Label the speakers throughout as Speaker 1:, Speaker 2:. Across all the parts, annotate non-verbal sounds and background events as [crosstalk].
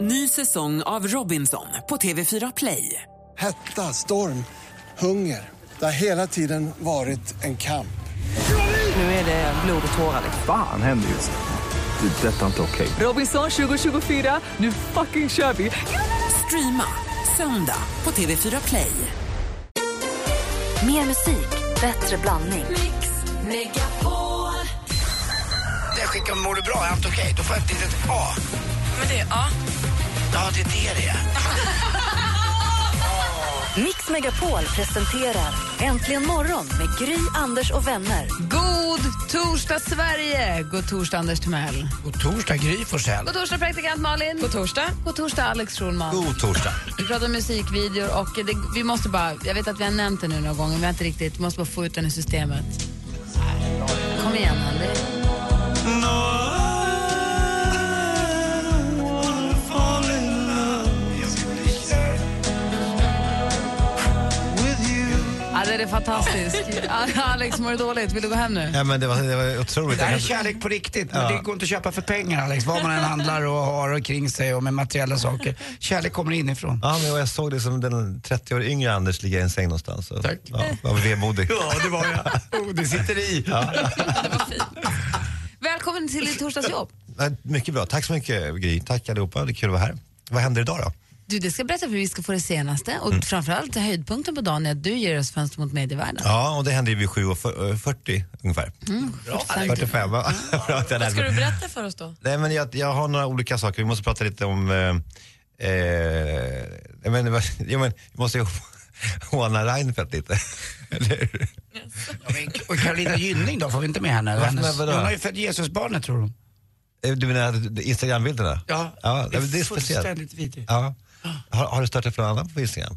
Speaker 1: Ny säsong av Robinson på TV4 Play.
Speaker 2: Hetta, storm, hunger. Det har hela tiden varit en kamp.
Speaker 1: Nu är det Eh, blod och tårar.
Speaker 3: Fan händer just nu. Det. är Detta är inte okej.
Speaker 1: Robinson 2024, nu fucking kör vi! Streama söndag på TV4 Play.
Speaker 4: Mer musik, bättre blandning.
Speaker 5: Jag skickar mår du bra, är allt okej? Då får jag ett litet A. Men det är A? Ja, det är det det är.
Speaker 4: Mix Megapol presenterar Äntligen morgon med Gry, Anders och vänner.
Speaker 6: God torsdag, Sverige! God torsdag, Anders Timell.
Speaker 5: God torsdag, Gry Forssell.
Speaker 6: God torsdag, praktikant Malin. God torsdag. God torsdag, Alex Schulman.
Speaker 5: God torsdag.
Speaker 6: Vi pratar om musikvideor och det, vi måste bara... Jag vet att vi har nämnt det nu några gånger, men vi har inte riktigt... Vi måste bara få ut den i systemet. Kom igen, Anders. Ja, det är [laughs] fantastiskt. Alex, mår du dåligt? Vill du gå hem nu?
Speaker 7: Ja, men det, var, det var otroligt.
Speaker 5: Det här är
Speaker 7: Jag kan-
Speaker 5: kärlek på riktigt. Men
Speaker 7: Ja.
Speaker 5: Det går inte att köpa för pengar, Alex. Vad man än handlar och har och kring sig och med materiella saker. Kärlek kommer inifrån.
Speaker 7: Ja, men jag såg det som den 30 år yngre Anders ligga i en säng någonstans. Så,
Speaker 5: Tack.
Speaker 7: Ja, jag var vemodig.
Speaker 5: Ja, det var [laughs] jag. Oh, det sitter i.
Speaker 6: Välkommen till ditt torsdagsjobb.
Speaker 7: Nej, Mycket bra. Tack så mycket Gry. Tack allihopa. Det är kul att vara här. Vad händer idag då?
Speaker 6: Du, det ska jag berätta för vi ska få det senaste och framförallt höjdpunkten på dagen är att du ger oss fönster mot medievärlden.
Speaker 7: Ja, och det händer ju vid 7.40 ungefär.
Speaker 5: Bra, Alex.
Speaker 7: 45. va? Bra att jag lärde mig.
Speaker 6: berätta för oss då?
Speaker 7: Nej, men jag, jag har några olika saker. Vi måste prata lite om... Eh, eh, jag men, vad- [laughs] jag men, vi måste ju håna Reinfeldt lite. [laughs] Eller hur?
Speaker 5: Ja, men- Och Carolina Gynning då, får vi inte med henne?
Speaker 7: Varför
Speaker 5: Hennes-
Speaker 7: med vadå?
Speaker 5: Hon har ju fött Jesusbarnet, tror hon.
Speaker 7: Eh, Du menar Instagrambilderna? ja det, det är speciellt.
Speaker 5: fullständigt vidrigt.
Speaker 7: Ja. Har, har du stört dig för någon annan på Instagram?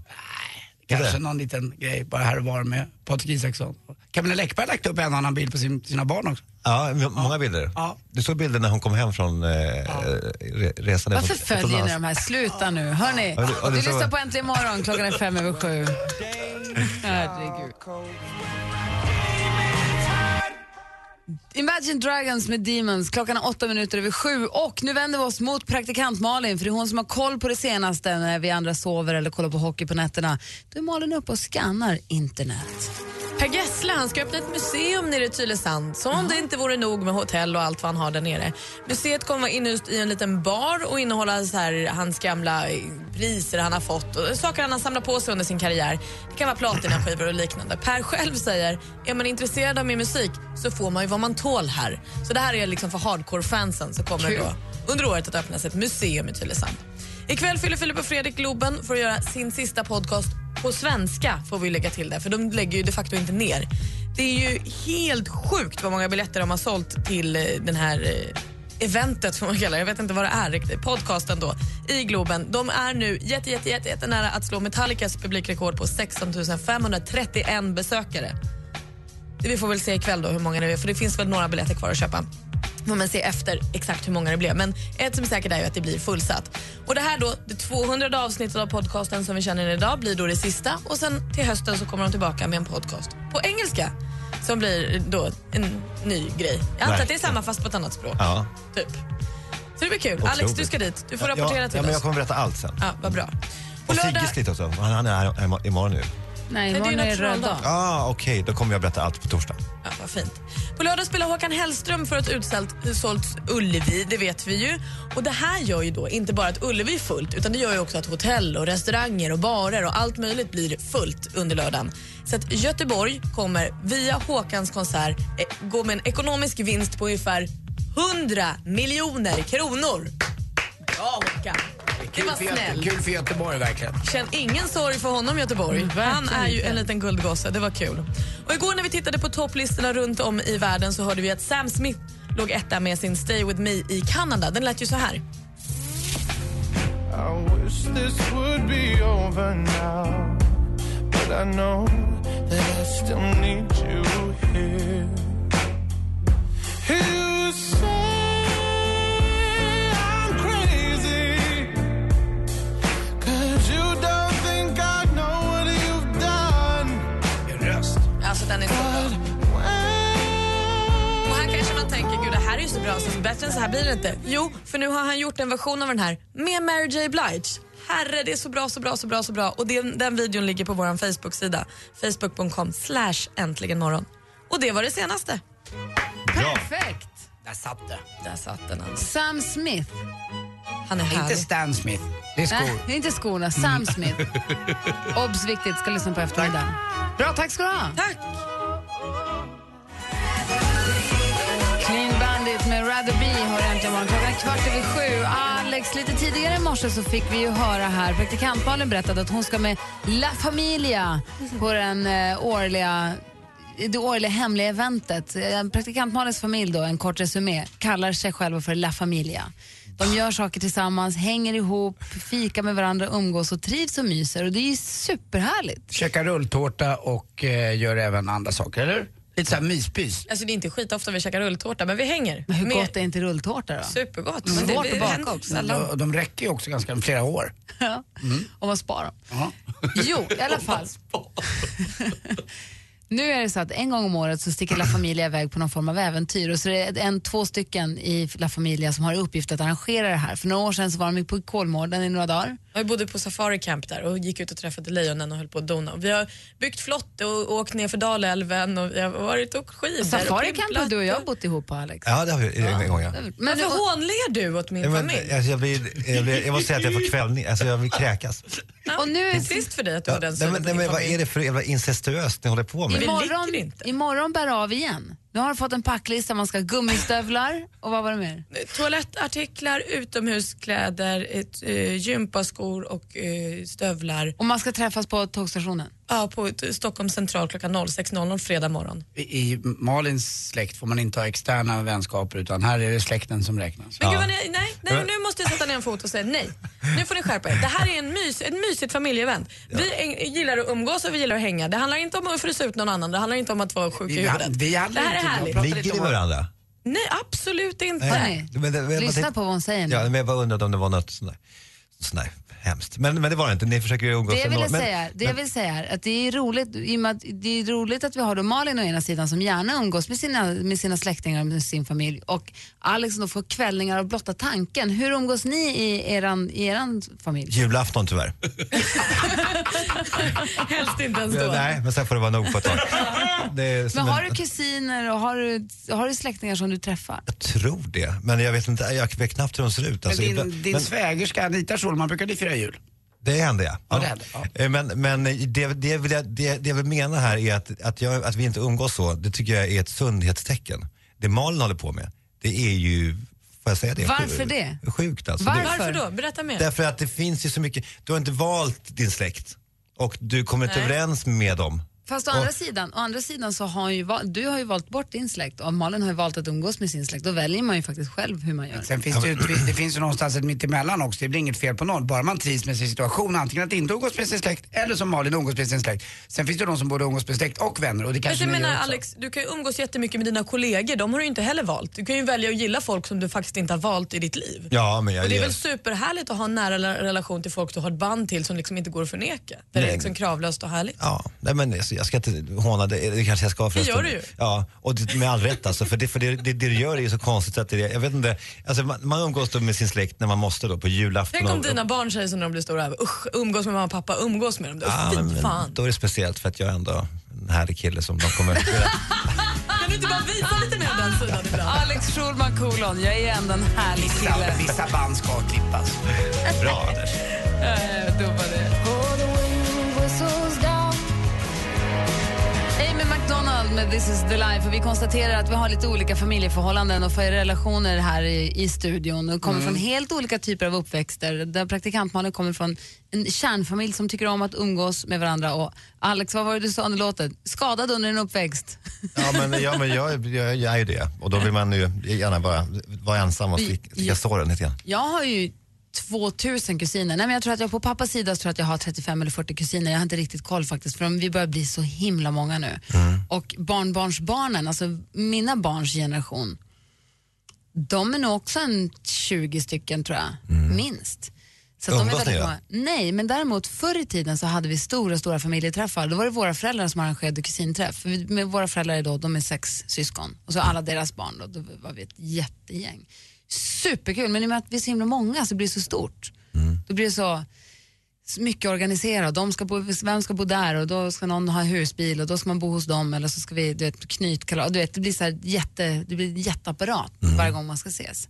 Speaker 5: Kanske
Speaker 7: Inte?
Speaker 5: någon liten grej bara här och var med Patrik Isaksson. Camilla Läckberg har lagt upp en annan bild på sin, sina barn också.
Speaker 7: Ja, m- många bilder.
Speaker 5: Ja.
Speaker 7: Du såg bilder när hon kom hem från eh, re- resan.
Speaker 6: Varför
Speaker 7: ifrån-
Speaker 6: följer ni
Speaker 7: utomlands.
Speaker 6: de här? Sluta nu. Hörni,
Speaker 7: Ja, det- ja, det
Speaker 6: du
Speaker 7: så-
Speaker 6: lyssnar på Äntligen morgon. Klockan är fem över sju. Herregud. Imagine Dragons med Demons. Klockan är åtta minuter över sju. Och nu vänder vi oss mot praktikant Malin, för det är hon som har koll på det senaste när vi andra sover eller kollar på hockey på nätterna. Då är Malin uppe och skannar internet.
Speaker 8: Per Gessle han ska öppna ett museum nere i Tylösand som om det inte vore nog med hotell och allt vad han har där nere. Museet kommer vara inhyst i en liten bar och innehålla så här, hans gamla eh, priser han har fått och saker han har samlat på sig under sin karriär. Det kan vara platinaskivor och liknande. Per själv säger, är man intresserad av min musik så får man ju vad man tål här. Så det här är liksom för hardcore-fansen så kommer det då under året att öppnas ett museum i Tylösand. Ikväll fyller Filip och Fredrik Globen för att göra sin sista podcast på svenska får vi lägga till det, för de lägger ju de facto inte ner. Det är ju helt sjukt vad många biljetter de har sålt till eh, den här eh, eventet, får man kalla det. Jag vet inte vad det är riktigt. Podcasten då, i Globen. De är nu jätte, jätte, jätte, jätte nära att slå Metallicas publikrekord på 16 531 besökare. Vi får väl se ikväll då hur många det är, för det finns väl några biljetter kvar att köpa. Får man se efter exakt hur många det blev. Men ett som är säkert är ju att det blir fullsatt. Och det här då, det 200 avsnittet av podcasten som vi känner idag blir då det sista och sen till hösten så kommer de tillbaka med en podcast på engelska som blir då en ny grej. Jag antar att det är samma fast på ett annat språk.
Speaker 7: Ja.
Speaker 8: Typ. Så det blir kul. Alex,
Speaker 7: Otroligt.
Speaker 8: du ska dit. Du får
Speaker 7: Ja,
Speaker 8: rapportera
Speaker 7: ja,
Speaker 8: till
Speaker 7: ja, men Jag
Speaker 8: oss.
Speaker 7: kommer berätta allt sen.
Speaker 8: Ja, vad bra. På
Speaker 7: Och
Speaker 8: lördag...
Speaker 7: Sigges lite också. Han han är här im- imorgon nu.
Speaker 6: Nej,
Speaker 8: det är
Speaker 6: imorgon är det röd
Speaker 8: nationaldag.
Speaker 6: dag.
Speaker 7: Ah, Okej, då kommer jag berätta allt på torsdag.
Speaker 8: Ja, vad fint. På lördag spelar Håkan Hellström för ett utsålt Ullevi, det vet vi ju. Och det här gör ju då inte bara att Ullevi är fullt utan det gör ju också att hotell och restauranger och barer och allt möjligt blir fullt under lördagen. Så att Göteborg kommer via Håkans konsert eh, gå med en ekonomisk vinst på ungefär 100 miljoner kronor. Bra Håkan! Det
Speaker 5: Kul
Speaker 8: var
Speaker 5: för Göte-
Speaker 8: snällt.
Speaker 5: Kul för Göteborg verkligen.
Speaker 8: Känn ingen sorg för honom Göteborg. Han är ju en liten guldgosse, det var kul. Och igår när vi tittade på topplistorna runt om i världen så hörde vi att Sam Smith låg etta med sin Stay With Me i Kanada. Den lät ju så här.
Speaker 9: I wish this would be over now, but I know that I still need you here. You say I'm crazy, 'cause you don't think I know what you've done.
Speaker 8: Alltså den är så bra. Och här kanske man tänker, gud det här är ju så bra som bättre än så här blir det inte. Jo, för nu har han gjort en version av den här med Mary J Blige. Herre, det är så bra, så bra, så bra, så bra. Och det, den videon ligger på vår Facebook-sida. Facebook.com slash äntligen morgon. Och det var det senaste.
Speaker 7: Bra.
Speaker 6: Perfekt!
Speaker 5: Där satt det.
Speaker 8: Där satt den alltså.
Speaker 6: Sam Smith.
Speaker 8: Han är
Speaker 5: Inte
Speaker 8: härlig.
Speaker 5: Stan Smith. Det är skor.
Speaker 6: Nej, inte skorna. Sam [laughs] Smith. Obs, viktigt. Ska lyssna på eftermiddagen. Bra, tack ska du ha.
Speaker 8: Tack!
Speaker 6: Clean Bandit med Rather Be har äntligen morgon. Klockan är kvart över sju. Alex, lite tidigare i morse så fick vi ju höra här, praktikantbarnen berättade att hon ska med La Familia på den eh, årliga det årliga hemliga eventet. Eh, Praktikantmalens familj då, en kort resumé, kallar sig själva för La Familia. De gör saker tillsammans, hänger ihop, fikar med varandra, umgås och trivs och myser. Och det är ju superhärligt.
Speaker 5: Käkar rulltårta och eh, gör även andra saker, eller? Lite såhär myspys.
Speaker 8: Alltså det är inte skitofta vi käkar rulltårta, men vi hänger.
Speaker 6: Men hur
Speaker 8: Med-
Speaker 6: gott är inte rulltårta då?
Speaker 8: Supergott.
Speaker 6: Mm.
Speaker 8: Men det,
Speaker 6: Svårt
Speaker 8: det
Speaker 6: att baka
Speaker 8: händer
Speaker 6: också.
Speaker 8: sällan.
Speaker 5: Och de räcker ju också ganska flera år.
Speaker 6: Ja,
Speaker 8: Mm.
Speaker 6: Om man sparar dem.
Speaker 5: Ja.
Speaker 6: Jo, i alla fall. nu är det så att en gång om året så sticker La Familia iväg på någon form av äventyr och så är det en, två stycken i La Familia som har i uppgift att arrangera det här. För några år sedan så var de ju på Kolmården i några dagar.
Speaker 8: Jag bodde på safari camp där och gick ut och träffade lejonen och höll på att dona. Vi har byggt flotte och åkt ner för Dalälven och vi har varit och åkt skidor.
Speaker 6: Safari
Speaker 8: och
Speaker 6: Camp har
Speaker 8: pimplat
Speaker 6: du och jag
Speaker 8: och-
Speaker 6: bott ihop på Alex.
Speaker 7: Ja, det har vi en gång. Ja.
Speaker 6: Men
Speaker 8: Varför
Speaker 6: och,
Speaker 8: hånler du åt min
Speaker 7: Nej, Men,
Speaker 8: familj?
Speaker 7: alltså, jag, blir, jag, blir, jag måste säga att jag får kvällning, alltså jag vill kräkas.
Speaker 8: Ja,
Speaker 6: och nu är-
Speaker 8: Trist för dig att du
Speaker 7: Ja,
Speaker 8: har den
Speaker 7: nej,
Speaker 8: synen
Speaker 7: men,
Speaker 8: på
Speaker 7: nej,
Speaker 8: din
Speaker 7: men vad
Speaker 8: familj.
Speaker 7: är det för jävla incestuöst ni håller på med?
Speaker 8: Vi ligger
Speaker 6: imorgon,
Speaker 8: inte.
Speaker 6: imorgon bär av igen. Nu har du fått en packlista, man ska ha gummistövlar och vad var det mer?
Speaker 8: Toalettartiklar, utomhuskläder, ett, eh, gympaskor och eh, stövlar.
Speaker 6: Och man ska träffas på tågstationen.
Speaker 8: Ja, på ett- Stockholm central klockan 06.00 fredag morgon.
Speaker 5: I i Malins släkt får man inte ha externa vänskaper utan här är det släkten som räknas.
Speaker 8: Men gud vad ni, nej, nej, nu måste jag sätta ner en fot och säga nej. Nu får ni skärpa er. Det här är en mys, ett mysigt familjeevent. Vi äng- gillar att umgås och vi gillar att hänga. Det handlar inte om att frysa ut någon annan, det handlar inte om att vara sjuk i
Speaker 5: Vi-
Speaker 8: huvudet.
Speaker 5: vi handlar
Speaker 8: det här är
Speaker 5: inte om-
Speaker 8: härligt.
Speaker 5: pratar lite
Speaker 7: Ligger ni
Speaker 5: om-
Speaker 7: med varandra?
Speaker 8: Nej, absolut inte.
Speaker 6: Nej.
Speaker 7: Men det- men-
Speaker 6: Lyssna
Speaker 7: men-
Speaker 6: på vad hon säger nu.
Speaker 7: Ja, men jag bara undrade om det var något sånt där, sånt där hemskt. Men, men det var det inte, ni försöker ju umgås
Speaker 6: Det jag,
Speaker 7: ändå.
Speaker 6: ville
Speaker 7: men,
Speaker 6: säga, det jag vill säga är att det är roligt, i och med att det är roligt att vi har då Malin å ena sidan som gärna umgås med sina, med sina släktingar och med sin familj och Alex som då får kvällningar av blotta tanken. Hur umgås ni i eran, i eran familj?
Speaker 7: Julafton tyvärr.
Speaker 8: Helst inte ens då.
Speaker 7: Nej, men sen får det vara nog
Speaker 6: [laughs]
Speaker 7: på ett tag. Det är som
Speaker 6: Men har
Speaker 7: en-
Speaker 6: du kusiner och har du, har du släktingar som du träffar?
Speaker 7: Jag tror det, men jag vet inte, jag vet knappt hur de ser ut.
Speaker 5: Men
Speaker 7: Alltså, ibland-
Speaker 5: din din
Speaker 7: men
Speaker 5: svägerska Anita Schulman brukade fira jul.
Speaker 7: det hände ja.
Speaker 5: Ja, det hände, ja.
Speaker 7: Eh, Men, men det, det, vill jag, det, det jag vill mena här är att, att, jag, att vi inte umgås så, det tycker jag är ett sundhetstecken. Det Malin håller på med, det är ju, får jag säga det?
Speaker 6: Varför det?
Speaker 7: Sjukt alltså.
Speaker 6: Varför?
Speaker 7: Det-
Speaker 8: Varför då? Berätta mer.
Speaker 7: Därför att det finns ju så mycket, du har inte valt din släkt och du kommer inte överens med dem.
Speaker 6: Fast å
Speaker 7: Och-
Speaker 6: andra sidan, å andra sidan så har hon ju, val- du har ju valt bort din släkt och Malin har ju valt att umgås med sin släkt. Då väljer man ju faktiskt själv hur man gör.
Speaker 5: Sen finns det, ju, det finns ju någonstans ett mittemellan också, det blir inget fel på någon. Bara man trivs med sin situation, antingen att inte umgås med sin släkt eller som Malin umgås med sin släkt. Sen finns det ju de som både umgås med släkt och vänner och det
Speaker 8: Men
Speaker 5: kanske
Speaker 8: jag
Speaker 5: ni gör
Speaker 8: menar
Speaker 5: också.
Speaker 8: Alex, du kan ju umgås jättemycket med dina kollegor. De har du ju inte heller valt. Du kan ju välja att gilla folk som du faktiskt inte har valt i ditt liv.
Speaker 7: Ja, men jag
Speaker 8: Och det är
Speaker 7: ger-
Speaker 8: väl superhärligt att ha en nära la- relation till folk du har ett band till som liksom inte går att förneka. Där det är
Speaker 7: Nej.
Speaker 8: liksom kravlöst och härligt.
Speaker 7: Ja, nej men alltså, jag ska inte håna det, det kanske jag ska förresten.
Speaker 8: gör du ju.
Speaker 7: Ja, och det, med all rätt alltså, för det, för det, det, det du gör är ju så konstigt att det är, jag vet inte, alltså man, man umgås då med sin släkt när man måste då på julafton.
Speaker 8: Tänk om
Speaker 7: och-
Speaker 8: dina barn säger så när de blir stora, usch umgås med mamma och pappa, umgås med dem. Då.
Speaker 7: Ja,
Speaker 8: Fy
Speaker 7: men- men
Speaker 8: fan.
Speaker 7: Då är det speciellt för att jag är ändå en härlig kille som de kommer
Speaker 8: [laughs] Kan du inte bara visa lite mer av den sidan ibland?
Speaker 6: Alex Schulman kolon, jag är ändå en härlig kille.
Speaker 5: Vissa- Vissa band ska klippas.
Speaker 7: Bra Anders.
Speaker 6: Amy McDonald med This is the life. Och vi konstaterar att vi har lite olika familjeförhållanden och relationer här i, i studion. Och kommer från helt olika typer av uppväxter. Där praktikantmannen kommer från en kärnfamilj som tycker om att umgås med varandra. Och Alex, vad var det du sa under låten? Skadad under en uppväxt. [laughs]
Speaker 7: Ja men, ja, men jag, jag, jag är ju det och då vill man ju gärna bara vara ensam och slicka, slicka såren lite grann.
Speaker 6: Jag har ju 2000 kusiner. Nej, men jag tror att jag på pappas sida så tror jag att jag har 35 eller 40 kusiner. Jag har inte riktigt koll faktiskt för de- vi börjar bli så himla många nu. Och barnbarnsbarnen, alltså mina barns generation, de är nog också en 20 stycken tror jag, minst. Så att de är
Speaker 7: Mm. Umgås ni
Speaker 6: väldigt
Speaker 7: då?
Speaker 6: många. Nej, men däremot förr i tiden så hade vi stora, stora familjeträffar. Då var det våra föräldrar som arrangerade kusinträff. Vi- Med våra föräldrar då, de är sex syskon. Och så alla deras barn då, då var vi ett jättegäng. Superkul, men i och med att vi är så himla många så blir det så stort.
Speaker 7: Mm.
Speaker 6: Då blir det så så mycket organiserat. De ska bo, vem ska bo där och då ska någon ha husbil och då ska man bo hos dem eller så ska vi du vet, knytkalas. Du vet, det blir så här jätte, det blir en jätteapparat
Speaker 7: Mhm.
Speaker 6: varje gång man ska ses.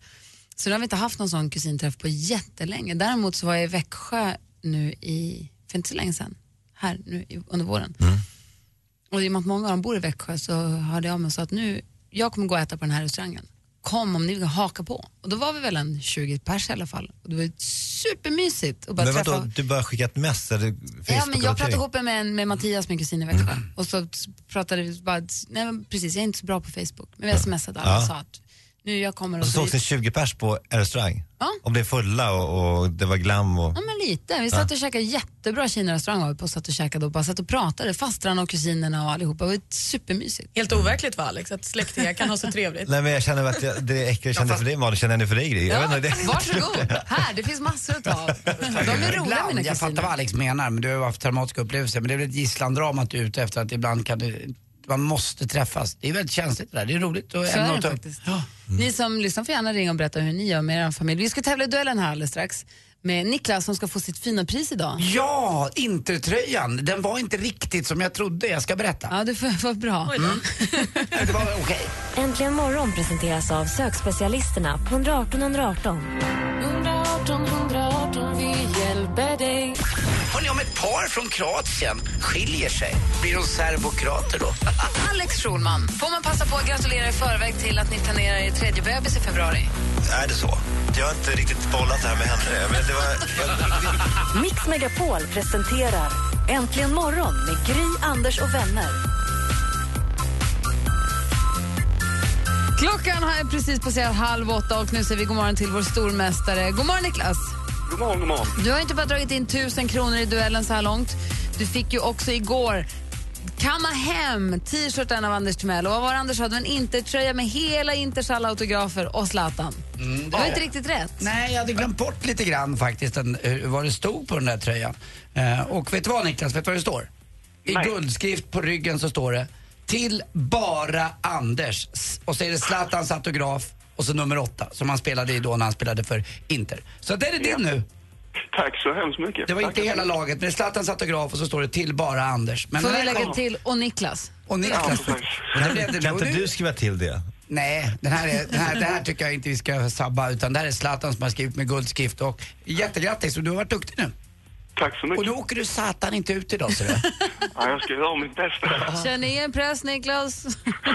Speaker 6: Så nu har vi inte haft någon sån kusinträff på jättelänge. Däremot så var jag i Växjö nu i, för inte så länge sedan, här nu i, under våren.
Speaker 7: Mm.
Speaker 6: Och i och med att många av dem bor i Växjö så hörde jag av mig och sa att nu, jag kommer gå och äta på den här restaurangen. Kom om ni vill haka på. Och då var vi väl en 20 pers i alla fall. Och det var supermysigt att bara
Speaker 7: Men vadå,
Speaker 6: träffa
Speaker 7: du bara skickat ett mess eller
Speaker 6: Ja,
Speaker 7: Facebook Mm.
Speaker 6: men jag pratade
Speaker 7: eller-
Speaker 6: ihop mig med, en- med Mattias, min kusin i Växjö. Och så pratade vi bara, nej men precis, jag är inte så bra på Facebook. Men vi smsade alla och
Speaker 7: Ja.
Speaker 6: sa att nu jag kommer
Speaker 7: Och så sågs ni 20 pers på en restaurang?
Speaker 6: Ja.
Speaker 7: Och blev fulla och, och det var glam och...
Speaker 6: Ja men lite. Vi satt och käkade jättebra Kina-restaurang var vi på, satt och käkade och bara satt och pratade, fastrarna och kusinerna och allihopa. Det var supermysigt.
Speaker 8: Helt overkligt va Alex, att släktingar kan ha så trevligt.
Speaker 7: Nej men jag känner att jag, det äckliga kände för dig Malin känner jag nu för dig Gry. Jag
Speaker 6: Ja,
Speaker 7: vet inte, det...
Speaker 6: varsågod, här, det finns massor att ta av. De är roliga mina
Speaker 5: Ibland, jag fattar vad
Speaker 6: kusiner.
Speaker 5: Alex menar, men du har ju haft traumatiska upplevelser. Men det är väl ett gisslandrama att du är ute efter att ibland kan du, man måste träffas. Det är väldigt känsligt det där, det är roligt. Och
Speaker 6: Så
Speaker 5: ämna
Speaker 6: är
Speaker 5: att
Speaker 6: det
Speaker 5: ta upp.
Speaker 6: faktiskt.
Speaker 5: Ja.
Speaker 6: Ni som lyssnar får gärna ringa och berätta hur ni gör med er familj. Vi ska tävla i duellen här alldeles strax med Niklas som ska få sitt fina pris idag.
Speaker 5: Ja, intertröjan. Den var inte riktigt som jag trodde. Jag ska berätta.
Speaker 6: Ja, det får vara bra.
Speaker 5: Det var okej.
Speaker 4: Äntligen morgon presenteras av sökspecialisterna på 118 118.
Speaker 5: Hörrni, om ett par från Kroatien skiljer sig, blir de serbokrater då?
Speaker 6: [laughs] Alex Schulman, får man passa på att gratulera i förväg till att ni planerar er tredje bebis i februari?
Speaker 7: Är det så? Jag har inte riktigt bollat det här med henne. Men det var...
Speaker 4: Mix Megapol presenterar Äntligen morgon med Gry, Anders och vänner.
Speaker 6: Klockan har precis passerat halv åtta och nu säger vi god morgon till vår stormästare. God morgon Niklas!
Speaker 10: God morgon, god morgon.
Speaker 6: Du har inte bara dragit in tusen kronor i duellen så här långt. Du fick ju också igår kamma hem t-shirten av Anders Timell. Och vad var det Anders hade? En Inter-tröja med hela Inters alla autografer och Zlatan. det var inte riktigt rätt.
Speaker 5: [laughs] Nej, jag hade glömt bort lite grann faktiskt den, hur- vad det stod på den där tröjan. Eh, och vet du vad Niklas, vet du vad det står? I
Speaker 10: Nej.
Speaker 5: guldskrift på ryggen så står det Till bara Anders. S- Och så är det Zlatans autograf och så nummer åtta som han spelade i då när han spelade för Inter. Så det är det nu.
Speaker 10: Tack så hemskt mycket.
Speaker 5: Det var inte
Speaker 10: Tackar.
Speaker 5: hela laget, men det är Zlatans autograf och så står det till bara Anders. Men
Speaker 6: Får
Speaker 5: den
Speaker 6: vi
Speaker 5: här
Speaker 6: lägga
Speaker 5: kom-
Speaker 6: till och Niklas?
Speaker 5: Och
Speaker 10: Ja,
Speaker 5: Niklas.
Speaker 10: precis.
Speaker 5: Det blev det.
Speaker 7: Kan
Speaker 5: Och
Speaker 7: inte
Speaker 5: nu-
Speaker 7: du skriva till det?
Speaker 5: Nej, den här, är, den, här, den här tycker jag inte vi ska sabba utan det här är Zlatan som har skrivit med guldskrift och jättegrattis och du har varit duktig nu.
Speaker 10: Tack så
Speaker 5: Och nu
Speaker 10: mycket.
Speaker 5: åker du satan inte ut idag ser du.
Speaker 10: Ja, jag ska göra mitt bästa.
Speaker 5: [laughs]
Speaker 6: Känner igen press Niklas?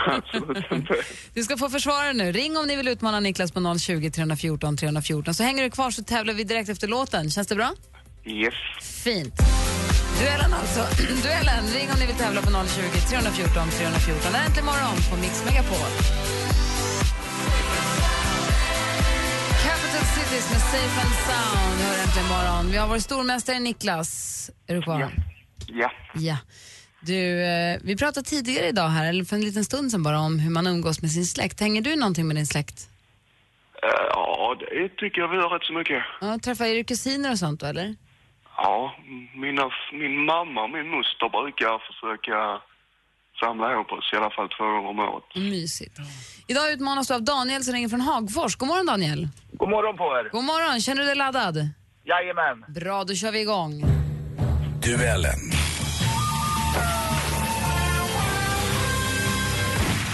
Speaker 10: Absolut inte.
Speaker 6: Du ska få försvara nu. Ring om ni vill utmana Niklas på 020 314 314. Så hänger du kvar så tävlar vi direkt efter låten. Känns det bra?
Speaker 10: Yes.
Speaker 6: Fint. Duellen alltså. [clears throat] Duellen. Ring om ni vill tävla på 020 314 314. Det är Äntligen morgon på Mix Megapol. Capital Cities med Safe and Sound hör Äntligen morgon. Vi har vår stormästare Niklas. Är du kvar?
Speaker 10: Ja. Ja.
Speaker 6: Ja. Du, eh, vi pratade tidigare idag här, eller för en liten stund sedan bara, om hur man umgås med sin släkt. Hänger du någonting med din släkt?
Speaker 10: Eh, Ja, det tycker jag vi gör rätt så mycket.
Speaker 6: Ja, träffar er kusiner och sånt då, eller?
Speaker 10: Ja, mina, min mamma och min moster brukar försöka samla ihop oss i alla fall två gånger om året.
Speaker 6: Vad Mysigt. Idag utmanas du av Daniel som ringer från Hagfors. God morgon Daniel.
Speaker 11: God morgon på er.
Speaker 6: God morgon, känner du dig laddad?
Speaker 11: Jajamän.
Speaker 6: Bra, då kör vi igång.
Speaker 5: Duellen.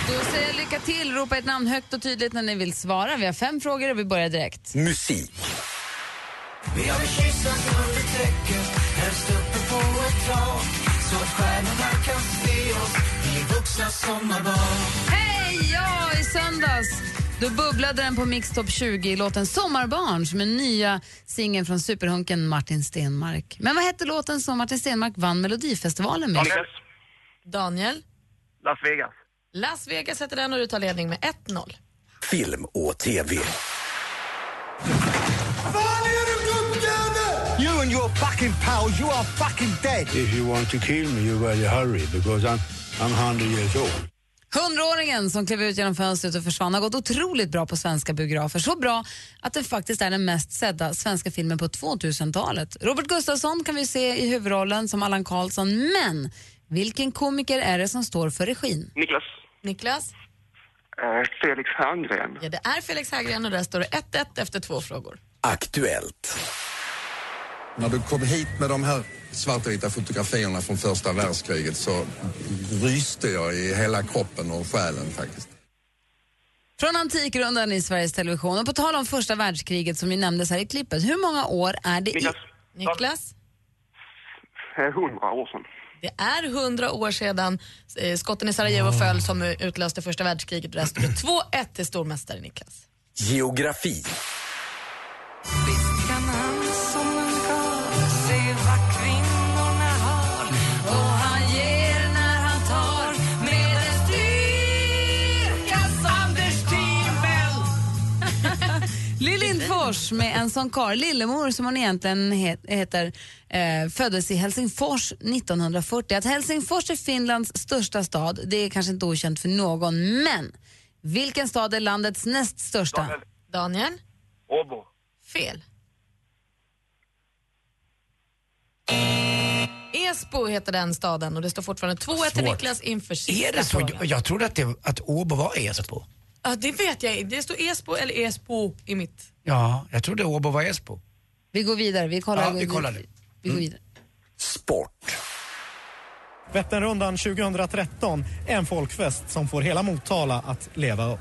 Speaker 6: Då säger jag lycka till, ropa ert namn högt och tydligt när ni vill svara. Vi har fem frågor och vi börjar direkt.
Speaker 2: Musik.
Speaker 6: Hej! Ja, i söndags då bubblade den på Mix Top 20 låten Sommarbarn som är nya singeln från superhunken Martin Stenmark. Men vad hette låten som Martin Stenmark vann Melodifestivalen med?
Speaker 10: Niklas.
Speaker 8: Daniel,
Speaker 11: Las Vegas.
Speaker 8: Las Vegas heter den och du tar ledning med 1-0.
Speaker 2: Film och TV.
Speaker 3: You and your fucking pal, you are fucking dead.
Speaker 12: If you want to kill me, you better hurry because I'm, I'm 100 years old.
Speaker 6: Hundraåringen som klev ut genom fönstret och försvann har gått otroligt bra på svenska biografer. Så bra att den faktiskt är den mest sedda svenska filmen på 2000-talet. Robert Gustafsson kan vi se i huvudrollen som Allan Karlsson, men vilken komiker är det som står för regin?
Speaker 10: Niklas.
Speaker 8: Niklas?
Speaker 10: Eh, Felix Herngren.
Speaker 8: Ja, det är Felix Hagren och där står det 1-1 efter två frågor.
Speaker 12: Aktuellt. När du kom hit med de här svartvita fotografierna från första världskriget så ryste jag i hela kroppen och själen faktiskt.
Speaker 6: Från Antikrundan i Sveriges Television. Och på tal om första världskriget som ju nämndes här i klippet, hur många år är det i...
Speaker 10: Niklas.
Speaker 8: Niklas?
Speaker 10: Eh, Hundra år sedan.
Speaker 8: Det är 100 år sedan eh, skotten i Sarajevo föll som utlöste första världskriget. Där står det 2-1 till stormästare Niklas.
Speaker 12: Geografi.
Speaker 6: [laughs] Lill Lindfors med en sån kar, Lillemor som hon egentligen he heter, eh, föddes i Helsingfors 1940. Att Helsingfors är Finlands största stad, det är kanske inte okänt för någon, men vilken stad är landets näst största?
Speaker 8: Daniel?
Speaker 10: Åbo.
Speaker 8: Fel. Esbo heter den staden [laughs] och det står fortfarande 2-1 till
Speaker 5: Svårt.
Speaker 8: Niklas inför sista
Speaker 5: Är det så?
Speaker 8: frågan.
Speaker 5: Jag trodde att, det, att Åbo var Esbo.
Speaker 8: Ja, det vet jag inte. Det står Esbo eller Esbo i mitt.
Speaker 5: Ja, jag trodde Åbo var Esbo.
Speaker 6: Vi går vidare, vi kollar.
Speaker 5: Ja, vi kollar nu. Mm.
Speaker 6: Vi går vidare.
Speaker 5: Sport.
Speaker 13: Vätternrundan 2013, en folkfest som får hela Motala att leva upp.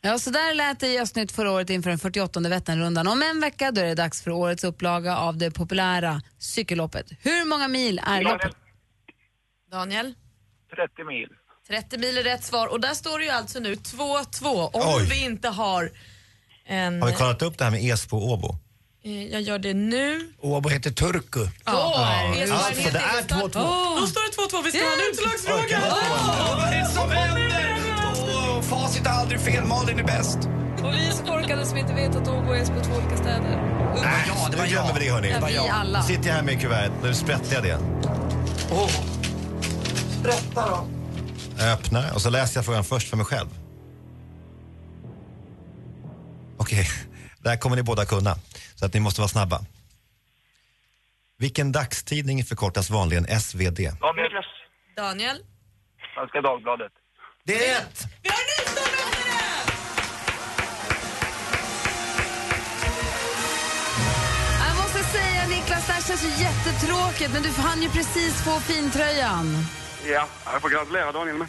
Speaker 6: Ja, så där lät det i Östnytt förra året inför den 48 Vätternrundan. Om en vecka då är det dags för årets upplaga av det populära cykelloppet. Hur många mil är loppet?
Speaker 8: Daniel?
Speaker 10: 30 mil.
Speaker 8: 30 mil är rätt svar och där står det ju alltså nu 2-2 om
Speaker 7: Oj.
Speaker 8: vi inte har en...
Speaker 7: Har vi kollat upp det här med Esbo och Åbo?
Speaker 8: Eh, Jag gör det nu.
Speaker 5: Åbo heter Turku.
Speaker 8: Esbo är en
Speaker 7: Alltså, det är
Speaker 8: helt egen
Speaker 7: 2-2.
Speaker 8: stad. Då står det 2-2, vi ska ha en utslagsfråga!
Speaker 5: Vad är det som händer? Åh, Facit har aldrig fel, Malin är bäst.
Speaker 14: Och vi är så korkade som inte vet att Åbo och Esbo är två olika städer.
Speaker 7: Nej, det var jag. med det hörni.
Speaker 14: Ja,
Speaker 7: Det var
Speaker 14: vi
Speaker 7: jag.
Speaker 14: alla.
Speaker 7: Sitter jag här med kuvertet, nu sprättar jag det.
Speaker 5: Oh. Berätta då.
Speaker 7: Jag öppnar och så läser jag frågan först för mig själv. Okej, [laughs] det här kommer ni båda kunna. Så att ni måste vara snabba. Vilken dagstidning förkortas vanligen SvD?
Speaker 10: Daniel.
Speaker 8: Daniel?
Speaker 10: Svenska Dagbladet.
Speaker 7: Det är rätt!
Speaker 8: Vi har en ny stormästare!
Speaker 6: Jag måste säga Niklas, det här känns ju jättetråkigt men du hann ju precis få fintröjan.
Speaker 10: Ja, jag får gratulera Daniel med.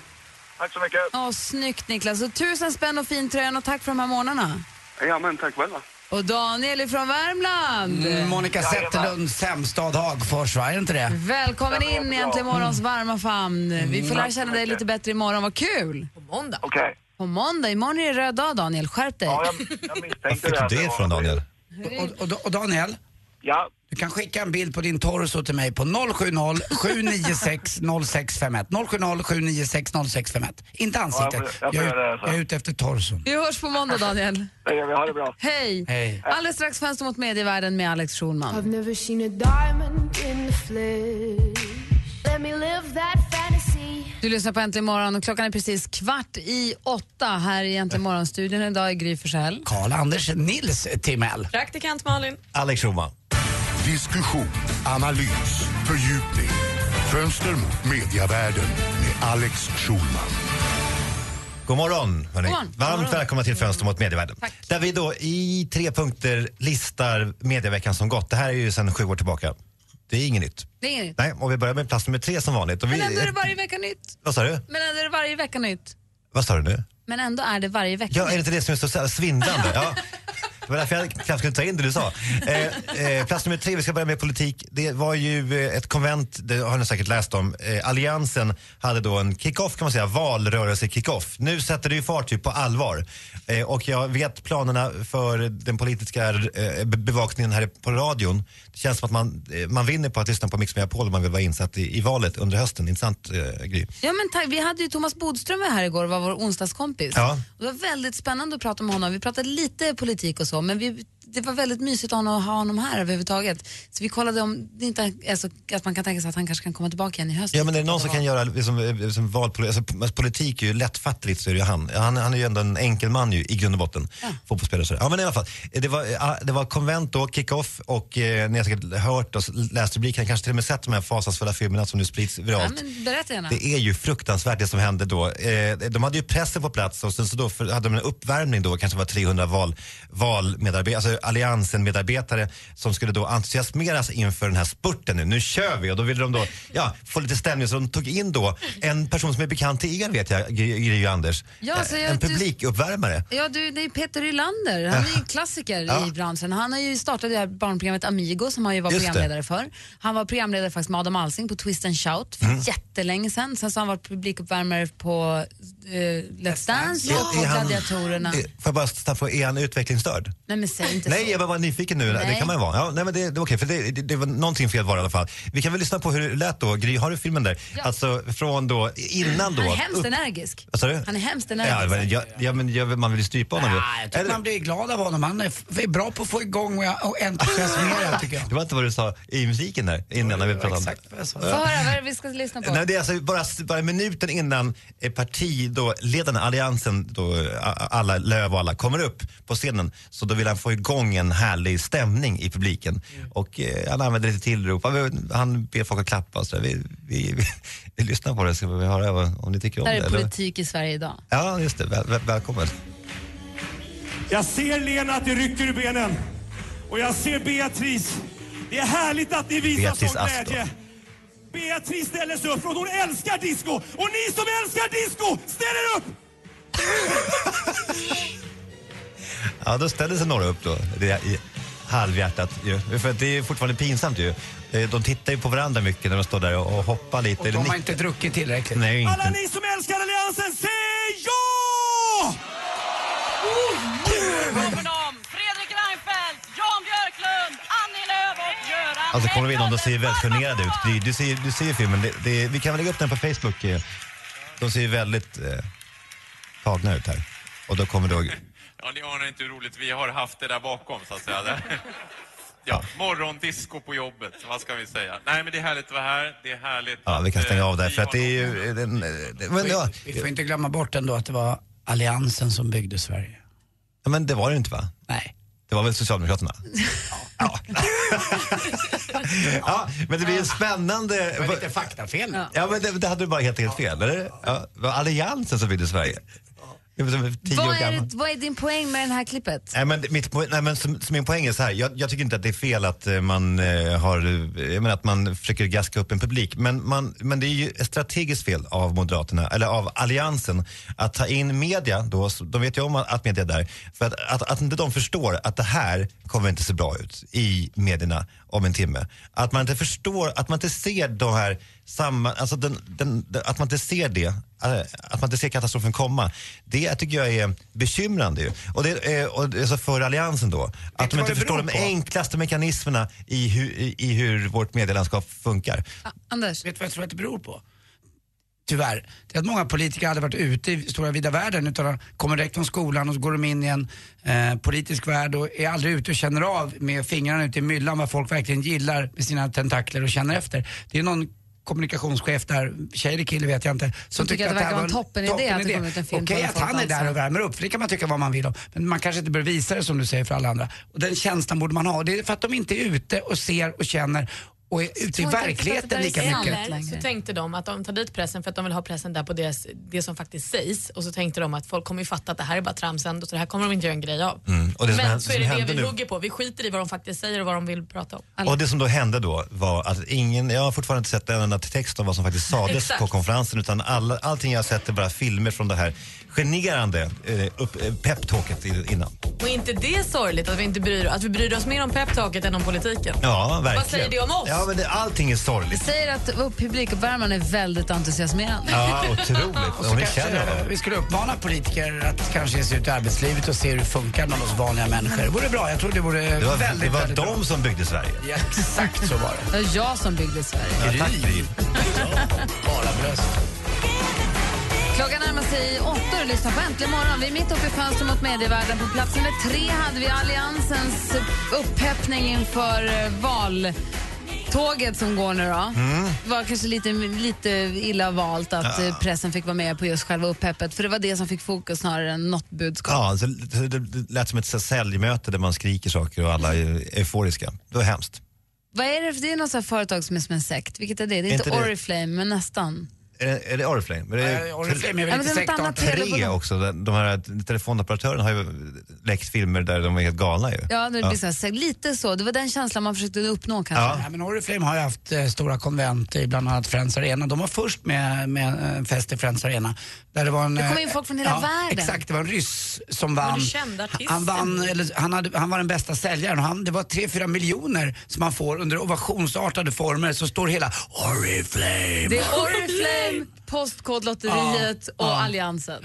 Speaker 10: Tack så mycket.
Speaker 6: Åh, snyggt Niklas. Och tusen spänn och fintröjan och tack för de här morgnarna.
Speaker 10: Ja, men tack själva.
Speaker 6: Och Daniel är från Värmland.
Speaker 5: Mm, Monica Zetterlunds hemstad Hagfors, va? Är det inte
Speaker 10: Mm.
Speaker 5: det?
Speaker 6: Välkommen in i Äntligen morgons varma famn. Vi får lära känna dig lite bättre imorgon. Vad kul!
Speaker 8: På måndag.
Speaker 10: Okej.
Speaker 6: På måndag. Imorgon är det röd dag, Daniel. Skärp dig.
Speaker 5: Var
Speaker 7: fick du det ifrån Daniel?
Speaker 5: Och, och, och Daniel?
Speaker 10: Ja?
Speaker 5: Du kan skicka en bild på din torso till mig på 070-796-0651. 070-796-0651. Inte ansiktet.
Speaker 10: Ja, jag
Speaker 5: Jag,
Speaker 10: får- jag får
Speaker 5: är-
Speaker 10: göra det, så.
Speaker 5: jag är ute efter torson.
Speaker 6: Vi hörs på måndag, Daniel.
Speaker 10: Det gör vi. Ha det bra.
Speaker 6: Hej!
Speaker 5: Hej.
Speaker 6: Alldeles strax Fönster mot medievärlden med Alex Schulman.
Speaker 15: I've never seen a diamond in the flesh. Let me live that fantasy.
Speaker 6: Du lyssnar på Äntligen morgon och klockan är precis kvart i åtta här i Äntligen morgonstudion. Idag är Gry Forssell.
Speaker 5: Karl-Anders Nils Timell.
Speaker 8: Praktikant Malin.
Speaker 7: Alex Schulman.
Speaker 16: Diskussion, analys, fördjupning. Fönster mot mediavärlden med Alex Schulman.
Speaker 7: God morgon, hörni.
Speaker 16: God morgon.
Speaker 7: Varmt välkomna till Fönster mot medievärlden. Där vi då i tre punkter listar medieveckan som gått. Det här är ju sedan sju år tillbaka. Det är inget nytt.
Speaker 6: Det är inget nytt.
Speaker 7: Nej, och vi börjar med plats nummer tre som vanligt. Och vi,
Speaker 6: Men ändå är det varje vecka nytt.
Speaker 7: Vad sa du?
Speaker 6: Men ändå är det varje vecka nytt.
Speaker 7: Vad sa du nu?
Speaker 6: Men ändå är det varje vecka
Speaker 7: Ja, är det
Speaker 6: nytt.
Speaker 7: inte det som är så så här svindlande? Ja. Det var därför jag knappt skulle ta in det du sa. Eh, eh, plats nummer tre, vi ska börja med politik. Det var ju eh, ett konvent, det har ni säkert läst om. Eh, Alliansen hade då en kick-off kan man säga, valrörelse-kick-off. Nu sätter det ju fart typ på allvar. Eh, och jag vet planerna för den politiska eh, be- bevakningen här på radion. Det känns som att man, eh, man vinner på att lyssna på Mix Megapol om man vill vara insatt i, i valet under hösten. Inte sant eh, Gry?
Speaker 6: Ja, men tack. Vi hade ju Thomas Bodström här igår och var vår onsdagskompis.
Speaker 7: Ja.
Speaker 6: Och det var väldigt spännande att prata med honom. Vi pratade lite politik och så, men vi det var väldigt mysigt att ha honom här överhuvudtaget. Så vi kollade om det inte är så att man kan tänka sig att han kanske kan komma tillbaka igen i höst.
Speaker 7: Ja, men är det någon som kan göra liksom, eh, liksom, valpolitik, alltså, p- politik är ju lättfattligt så är det ju han. Han, han är ju ändå en enkel man ju, i grund och botten. Fotbollsspelare och sådär. Ja men i alla fall, eh, det var, eh, det var konvent då, kick-off och eh, ni har säkert hört och läst rubrikerna, kanske till och med sett de här fasansfulla filmerna som nu sprids
Speaker 6: Ja,
Speaker 7: viralt.
Speaker 6: men berätta gärna.
Speaker 7: Det är ju fruktansvärt det som hände då. Eh, de hade ju pressen på plats och sen så då för, hade de en uppvärmning då, kanske var 300 val, valmedarbetare, alltså alliansen-medarbetare som skulle då entusiasmeras inför den här spurten nu. Nu kör vi! Och då ville de då ja, få lite stämning så de tog in då en person som är bekant till er vet jag, Gry Gry och Anders.
Speaker 6: Ja,
Speaker 7: Eh,
Speaker 6: så jag-
Speaker 7: en
Speaker 6: du-
Speaker 7: publikuppvärmare.
Speaker 6: Ja, du, det är Peter Rylander. Han är
Speaker 7: [laughs]
Speaker 6: ju en klassiker
Speaker 7: Ja.
Speaker 6: i branschen. Han har ju startat det här barnprogrammet Amigo som han ju var
Speaker 7: Just det.
Speaker 6: programledare för. Han var programledare faktiskt med Adam Alsing på Twist and shout för
Speaker 7: Mm.
Speaker 6: jättelänge sedan. Sen så har han varit publikuppvärmare på eh, Let's Dance och
Speaker 7: Är-
Speaker 6: på
Speaker 7: är han-
Speaker 6: Gladiatorerna.
Speaker 7: eh, Får jag bara stanna på, är han utvecklingsstörd?
Speaker 6: Nej men säg inte
Speaker 7: Nej,
Speaker 6: så.
Speaker 7: jag var bara nyfiken nu. Det
Speaker 6: Nej.
Speaker 7: kan man ju vara. Ja, nej, men det, det var okej, för det, det, det var någonting fel var det i alla fall. Vi kan väl lyssna på hur det lät då. Gry, har du filmen där?
Speaker 6: Ja.
Speaker 7: Alltså från då, innan då.
Speaker 6: Han är hemskt
Speaker 7: upp-
Speaker 6: energisk.
Speaker 7: Vad sa du?
Speaker 6: Han är hemskt
Speaker 7: Ja,
Speaker 6: energisk.
Speaker 7: men, jag, ja, men jag, man vill ju strypa honom ju.
Speaker 5: Jag tycker
Speaker 7: Eller-
Speaker 5: man blir glad av honom. Han är, f- är bra på att få igång och, och
Speaker 7: [laughs]
Speaker 5: entusiasmera tycker jag.
Speaker 7: Det var inte vad du sa i musiken där, innan när vi pratade om det.
Speaker 6: Få höra, vad är det vi ska lyssna på?
Speaker 7: Nej, det är alltså bara, bara minuten innan eh, parti, då, ledarna, alliansen, då, eh, alla Löv och alla kommer upp på scenen så då vill han få igång en härlig stämning i publiken. Och eh, han använder lite tillrop, han, han ber folk att klappa och så där. vi, vi, [laughs] vi, vi lyssnar på det så vi höra vad, om ni tycker om
Speaker 6: Där
Speaker 7: det.
Speaker 6: är
Speaker 7: eller?
Speaker 6: politik i Sverige idag.
Speaker 7: Ja, just det. Väl, väl, välkommen.
Speaker 17: Jag ser Lena att det rycker ur benen. Och jag ser Beatrice. Det är härligt att ni visar
Speaker 7: Beatrice
Speaker 17: sån
Speaker 7: Ask
Speaker 17: glädje. Beatrice ställer sig upp för hon älskar disco. Och ni som älskar disco, ställ er upp!
Speaker 7: Ja, då ställer sig några upp då. Det är i halvhjärtat ju. För att det är fortfarande pinsamt ju. Eh, De tittar ju på varandra mycket när de står där och och hoppar lite.
Speaker 5: Och de
Speaker 7: Eller
Speaker 5: har
Speaker 7: nick-
Speaker 5: inte druckit tillräckligt.
Speaker 7: Nej, inte.
Speaker 17: Alla ni som älskar Alliansen, säg ja!
Speaker 18: Fredrik Reinfeldt, Jan Björklund, Annie Lööf och Göran
Speaker 7: Alltså kommer vi in om de ser väldigt generade ut. Du, du, ser, du ser ju filmen. Det, det, vi kan väl lägga upp den på Facebook. eh. De ser ju väldigt eh, tagna ut här. Och då kommer då...
Speaker 19: Ja, ni anar inte hur roligt vi har haft det där bakom, så att säga. Det- Ja, morgondisco på jobbet, vad ska vi säga? Nej, men det är härligt att vara här. Det är härligt.
Speaker 7: Ja, vi kan stänga av där för att det är ju... eh, Den, eh, det- men, ja,
Speaker 5: Vi får inte glömma bort ändå att det var Alliansen som byggde Sverige.
Speaker 7: ja, men det var det ju inte va?
Speaker 5: Nej.
Speaker 7: Det var väl Socialdemokraterna?
Speaker 6: [laughs]
Speaker 7: Ja. Ja. men det blir en spännande...
Speaker 5: Det var lite faktafel.
Speaker 7: Ja, men det, det hade du bara helt, helt fel, eller? Ja, det var Alliansen som byggde Sverige. Det var som tio
Speaker 6: Vad
Speaker 7: år
Speaker 6: är,
Speaker 7: gammal.
Speaker 6: det- vad är din poäng med det här klippet?
Speaker 7: Nej, men mitt, po- nej, men som, som min poäng är så här. Jag, jag tycker inte att det är fel att eh, man eh, har, eh, jag menar att man försöker gaska upp en publik. Men, man, men det är ju ett strategiskt fel av Moderaterna, eller av Alliansen, att ta in media då, så- de vet ju om att att media är där, för att, att, att inte de förstår att det här kommer inte se bra ut i medierna om en timme. Att man inte förstår, att man inte ser de här samma, alltså den, den, den, att man inte ser det, eh, att man inte ser katastrofen komma, det tycker jag är bekymrande ju. Och det, eh, och det är så för Alliansen då, att de
Speaker 5: vad
Speaker 7: inte
Speaker 5: det
Speaker 7: förstår
Speaker 5: beror
Speaker 7: de
Speaker 5: på?
Speaker 7: enklaste mekanismerna i, hu, i, i hur vårt medielandskap funkar.
Speaker 6: Anders?
Speaker 5: Vet du vad jag tror att det beror på? Tyvärr. Det är att många politiker hade varit ute i stora vida världen utan de kommer direkt från skolan och så går de in i en eh, politisk värld och är aldrig ute och känner av med fingrarna ute i myllan vad folk verkligen gillar med sina tentakler och känner efter. Det är någon kommunikationschef där, tjej eller kille vet jag inte,
Speaker 6: Som tycker att det
Speaker 5: här
Speaker 6: verkar vara en
Speaker 5: var
Speaker 6: toppenidé att det kommer ut en film på
Speaker 5: Okej
Speaker 6: när
Speaker 5: att
Speaker 6: folk
Speaker 5: han är där
Speaker 6: dansar.
Speaker 5: och värmer upp, för det kan man tycka vad man vill om. Men man kanske inte bör visa det som du säger för alla andra. Och den känslan borde man ha. Det är för att de inte är ute och ser och känner och är ute i
Speaker 8: tror inte att det
Speaker 5: verkligheten
Speaker 8: där
Speaker 5: lika
Speaker 8: är sant.
Speaker 5: mycket.
Speaker 8: Nej, Så tänkte de att de tar dit pressen för att de vill ha pressen där på deras, det som faktiskt sägs och så tänkte de att folk kommer ju fatta att det här är bara trams ändå så det här kommer de inte göra en grej av.
Speaker 7: Mm, och det som
Speaker 8: Men
Speaker 7: hän-
Speaker 8: så är
Speaker 7: som
Speaker 8: det det
Speaker 7: hände
Speaker 8: vi
Speaker 7: nu-
Speaker 8: hugger på. Vi skiter i vad de faktiskt säger och vad de vill prata om.
Speaker 7: Och det som då hände då var att ingen, jag har fortfarande inte sett en enda text om vad som faktiskt sades
Speaker 8: Exakt.
Speaker 7: på konferensen utan alla, allting jag har sett är bara filmer från det här generande eh, upp- eh, peptalket i- innan.
Speaker 8: Och inte det är sorgligt att vi inte bryr, att vi bryr oss mer om peptalket än om politiken.
Speaker 7: Ja, verkligen.
Speaker 8: Vad säger det om oss?
Speaker 7: Ja, men det, allting är
Speaker 6: Vi
Speaker 7: sorgligt.
Speaker 6: säger att vår publikuppvärmaren är väldigt entusiasmerande.
Speaker 7: Ja, otroligt.
Speaker 5: Och så
Speaker 7: Och ni
Speaker 5: kanske
Speaker 7: känner honom.
Speaker 5: Vi skulle uppmana politiker att kanske ge sig ut i arbetslivet och se hur det funkar bland oss vanliga människor. Det vore bra. Jag tror det vore
Speaker 7: Det var,
Speaker 5: väldigt,
Speaker 7: det var
Speaker 5: väldigt bra.
Speaker 7: de som byggde Sverige.
Speaker 5: Ja, exakt så var det.
Speaker 6: Det var jag som byggde Sverige.
Speaker 7: Ja, tack, Gry.
Speaker 5: Bara bröst.
Speaker 6: Klockan närmar sig åtta och du lyssnar på Äntligen morgon. Vi är mitt uppe i fönstret mot medievärlden. På plats nummer tre hade vi Alliansens upphäppning inför eh, valtåget som går nu då.
Speaker 7: Mm.
Speaker 6: Det var kanske lite, lite illa valt att
Speaker 7: Ja.
Speaker 6: eh, pressen fick vara med på just själva upphäppet för det var det som fick fokus snarare än något budskap.
Speaker 7: Ja, så det det lät som ett så här säljmöte där man skriker saker och alla är euforiska. Det var hemskt.
Speaker 6: Vad är det för, det är något sånt här företag som är som en sekt. Vilket är det? Det är
Speaker 7: Är
Speaker 6: inte
Speaker 7: inte det-
Speaker 6: Oriflame, men nästan.
Speaker 7: Är det, är det Oriflame? Men
Speaker 5: Nej, Oriflame är väl
Speaker 6: Ja, men inte det är något sektorn annat tre.
Speaker 7: tre också. Den- De här telefonoperatörerna har ju läckt filmer där de är helt galna ju.
Speaker 6: Ja, det blir så här, sekt. lite så. Det var den känslan man försökte uppnå kanske.
Speaker 5: Ja. men Oriflame har ju haft eh, stora konvent i bland annat Friends Arena. De var först med, med en fest i Friends Arena. Där det, var en,
Speaker 6: Det kom
Speaker 5: eh,
Speaker 6: in folk från hela
Speaker 5: ja,
Speaker 6: världen.
Speaker 5: Exakt, det var en ryss som
Speaker 6: Var det
Speaker 5: vann.
Speaker 6: kända artisten?
Speaker 5: Han, vann eller, han, hade, han var den bästa säljaren. och Han, det var 3-4 miljoner som han får under ovationsartade former. Så står hela Oriflame.
Speaker 6: Det är Oriflame, Postkodlotteriet
Speaker 5: Ja,
Speaker 6: och
Speaker 5: ja.
Speaker 6: Alliansen.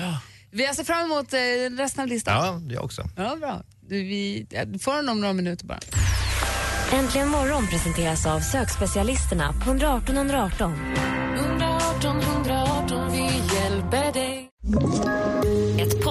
Speaker 6: Vi ser fram emot eh, resten av listan.
Speaker 7: Ja, jag också.
Speaker 6: Ja, bra. Du, vi jag får den om några minuter bara.
Speaker 4: Äntligen morgon presenteras av sökspecialisterna på 118 118.
Speaker 14: 118 118, vi hjälper dig.
Speaker 20: Ett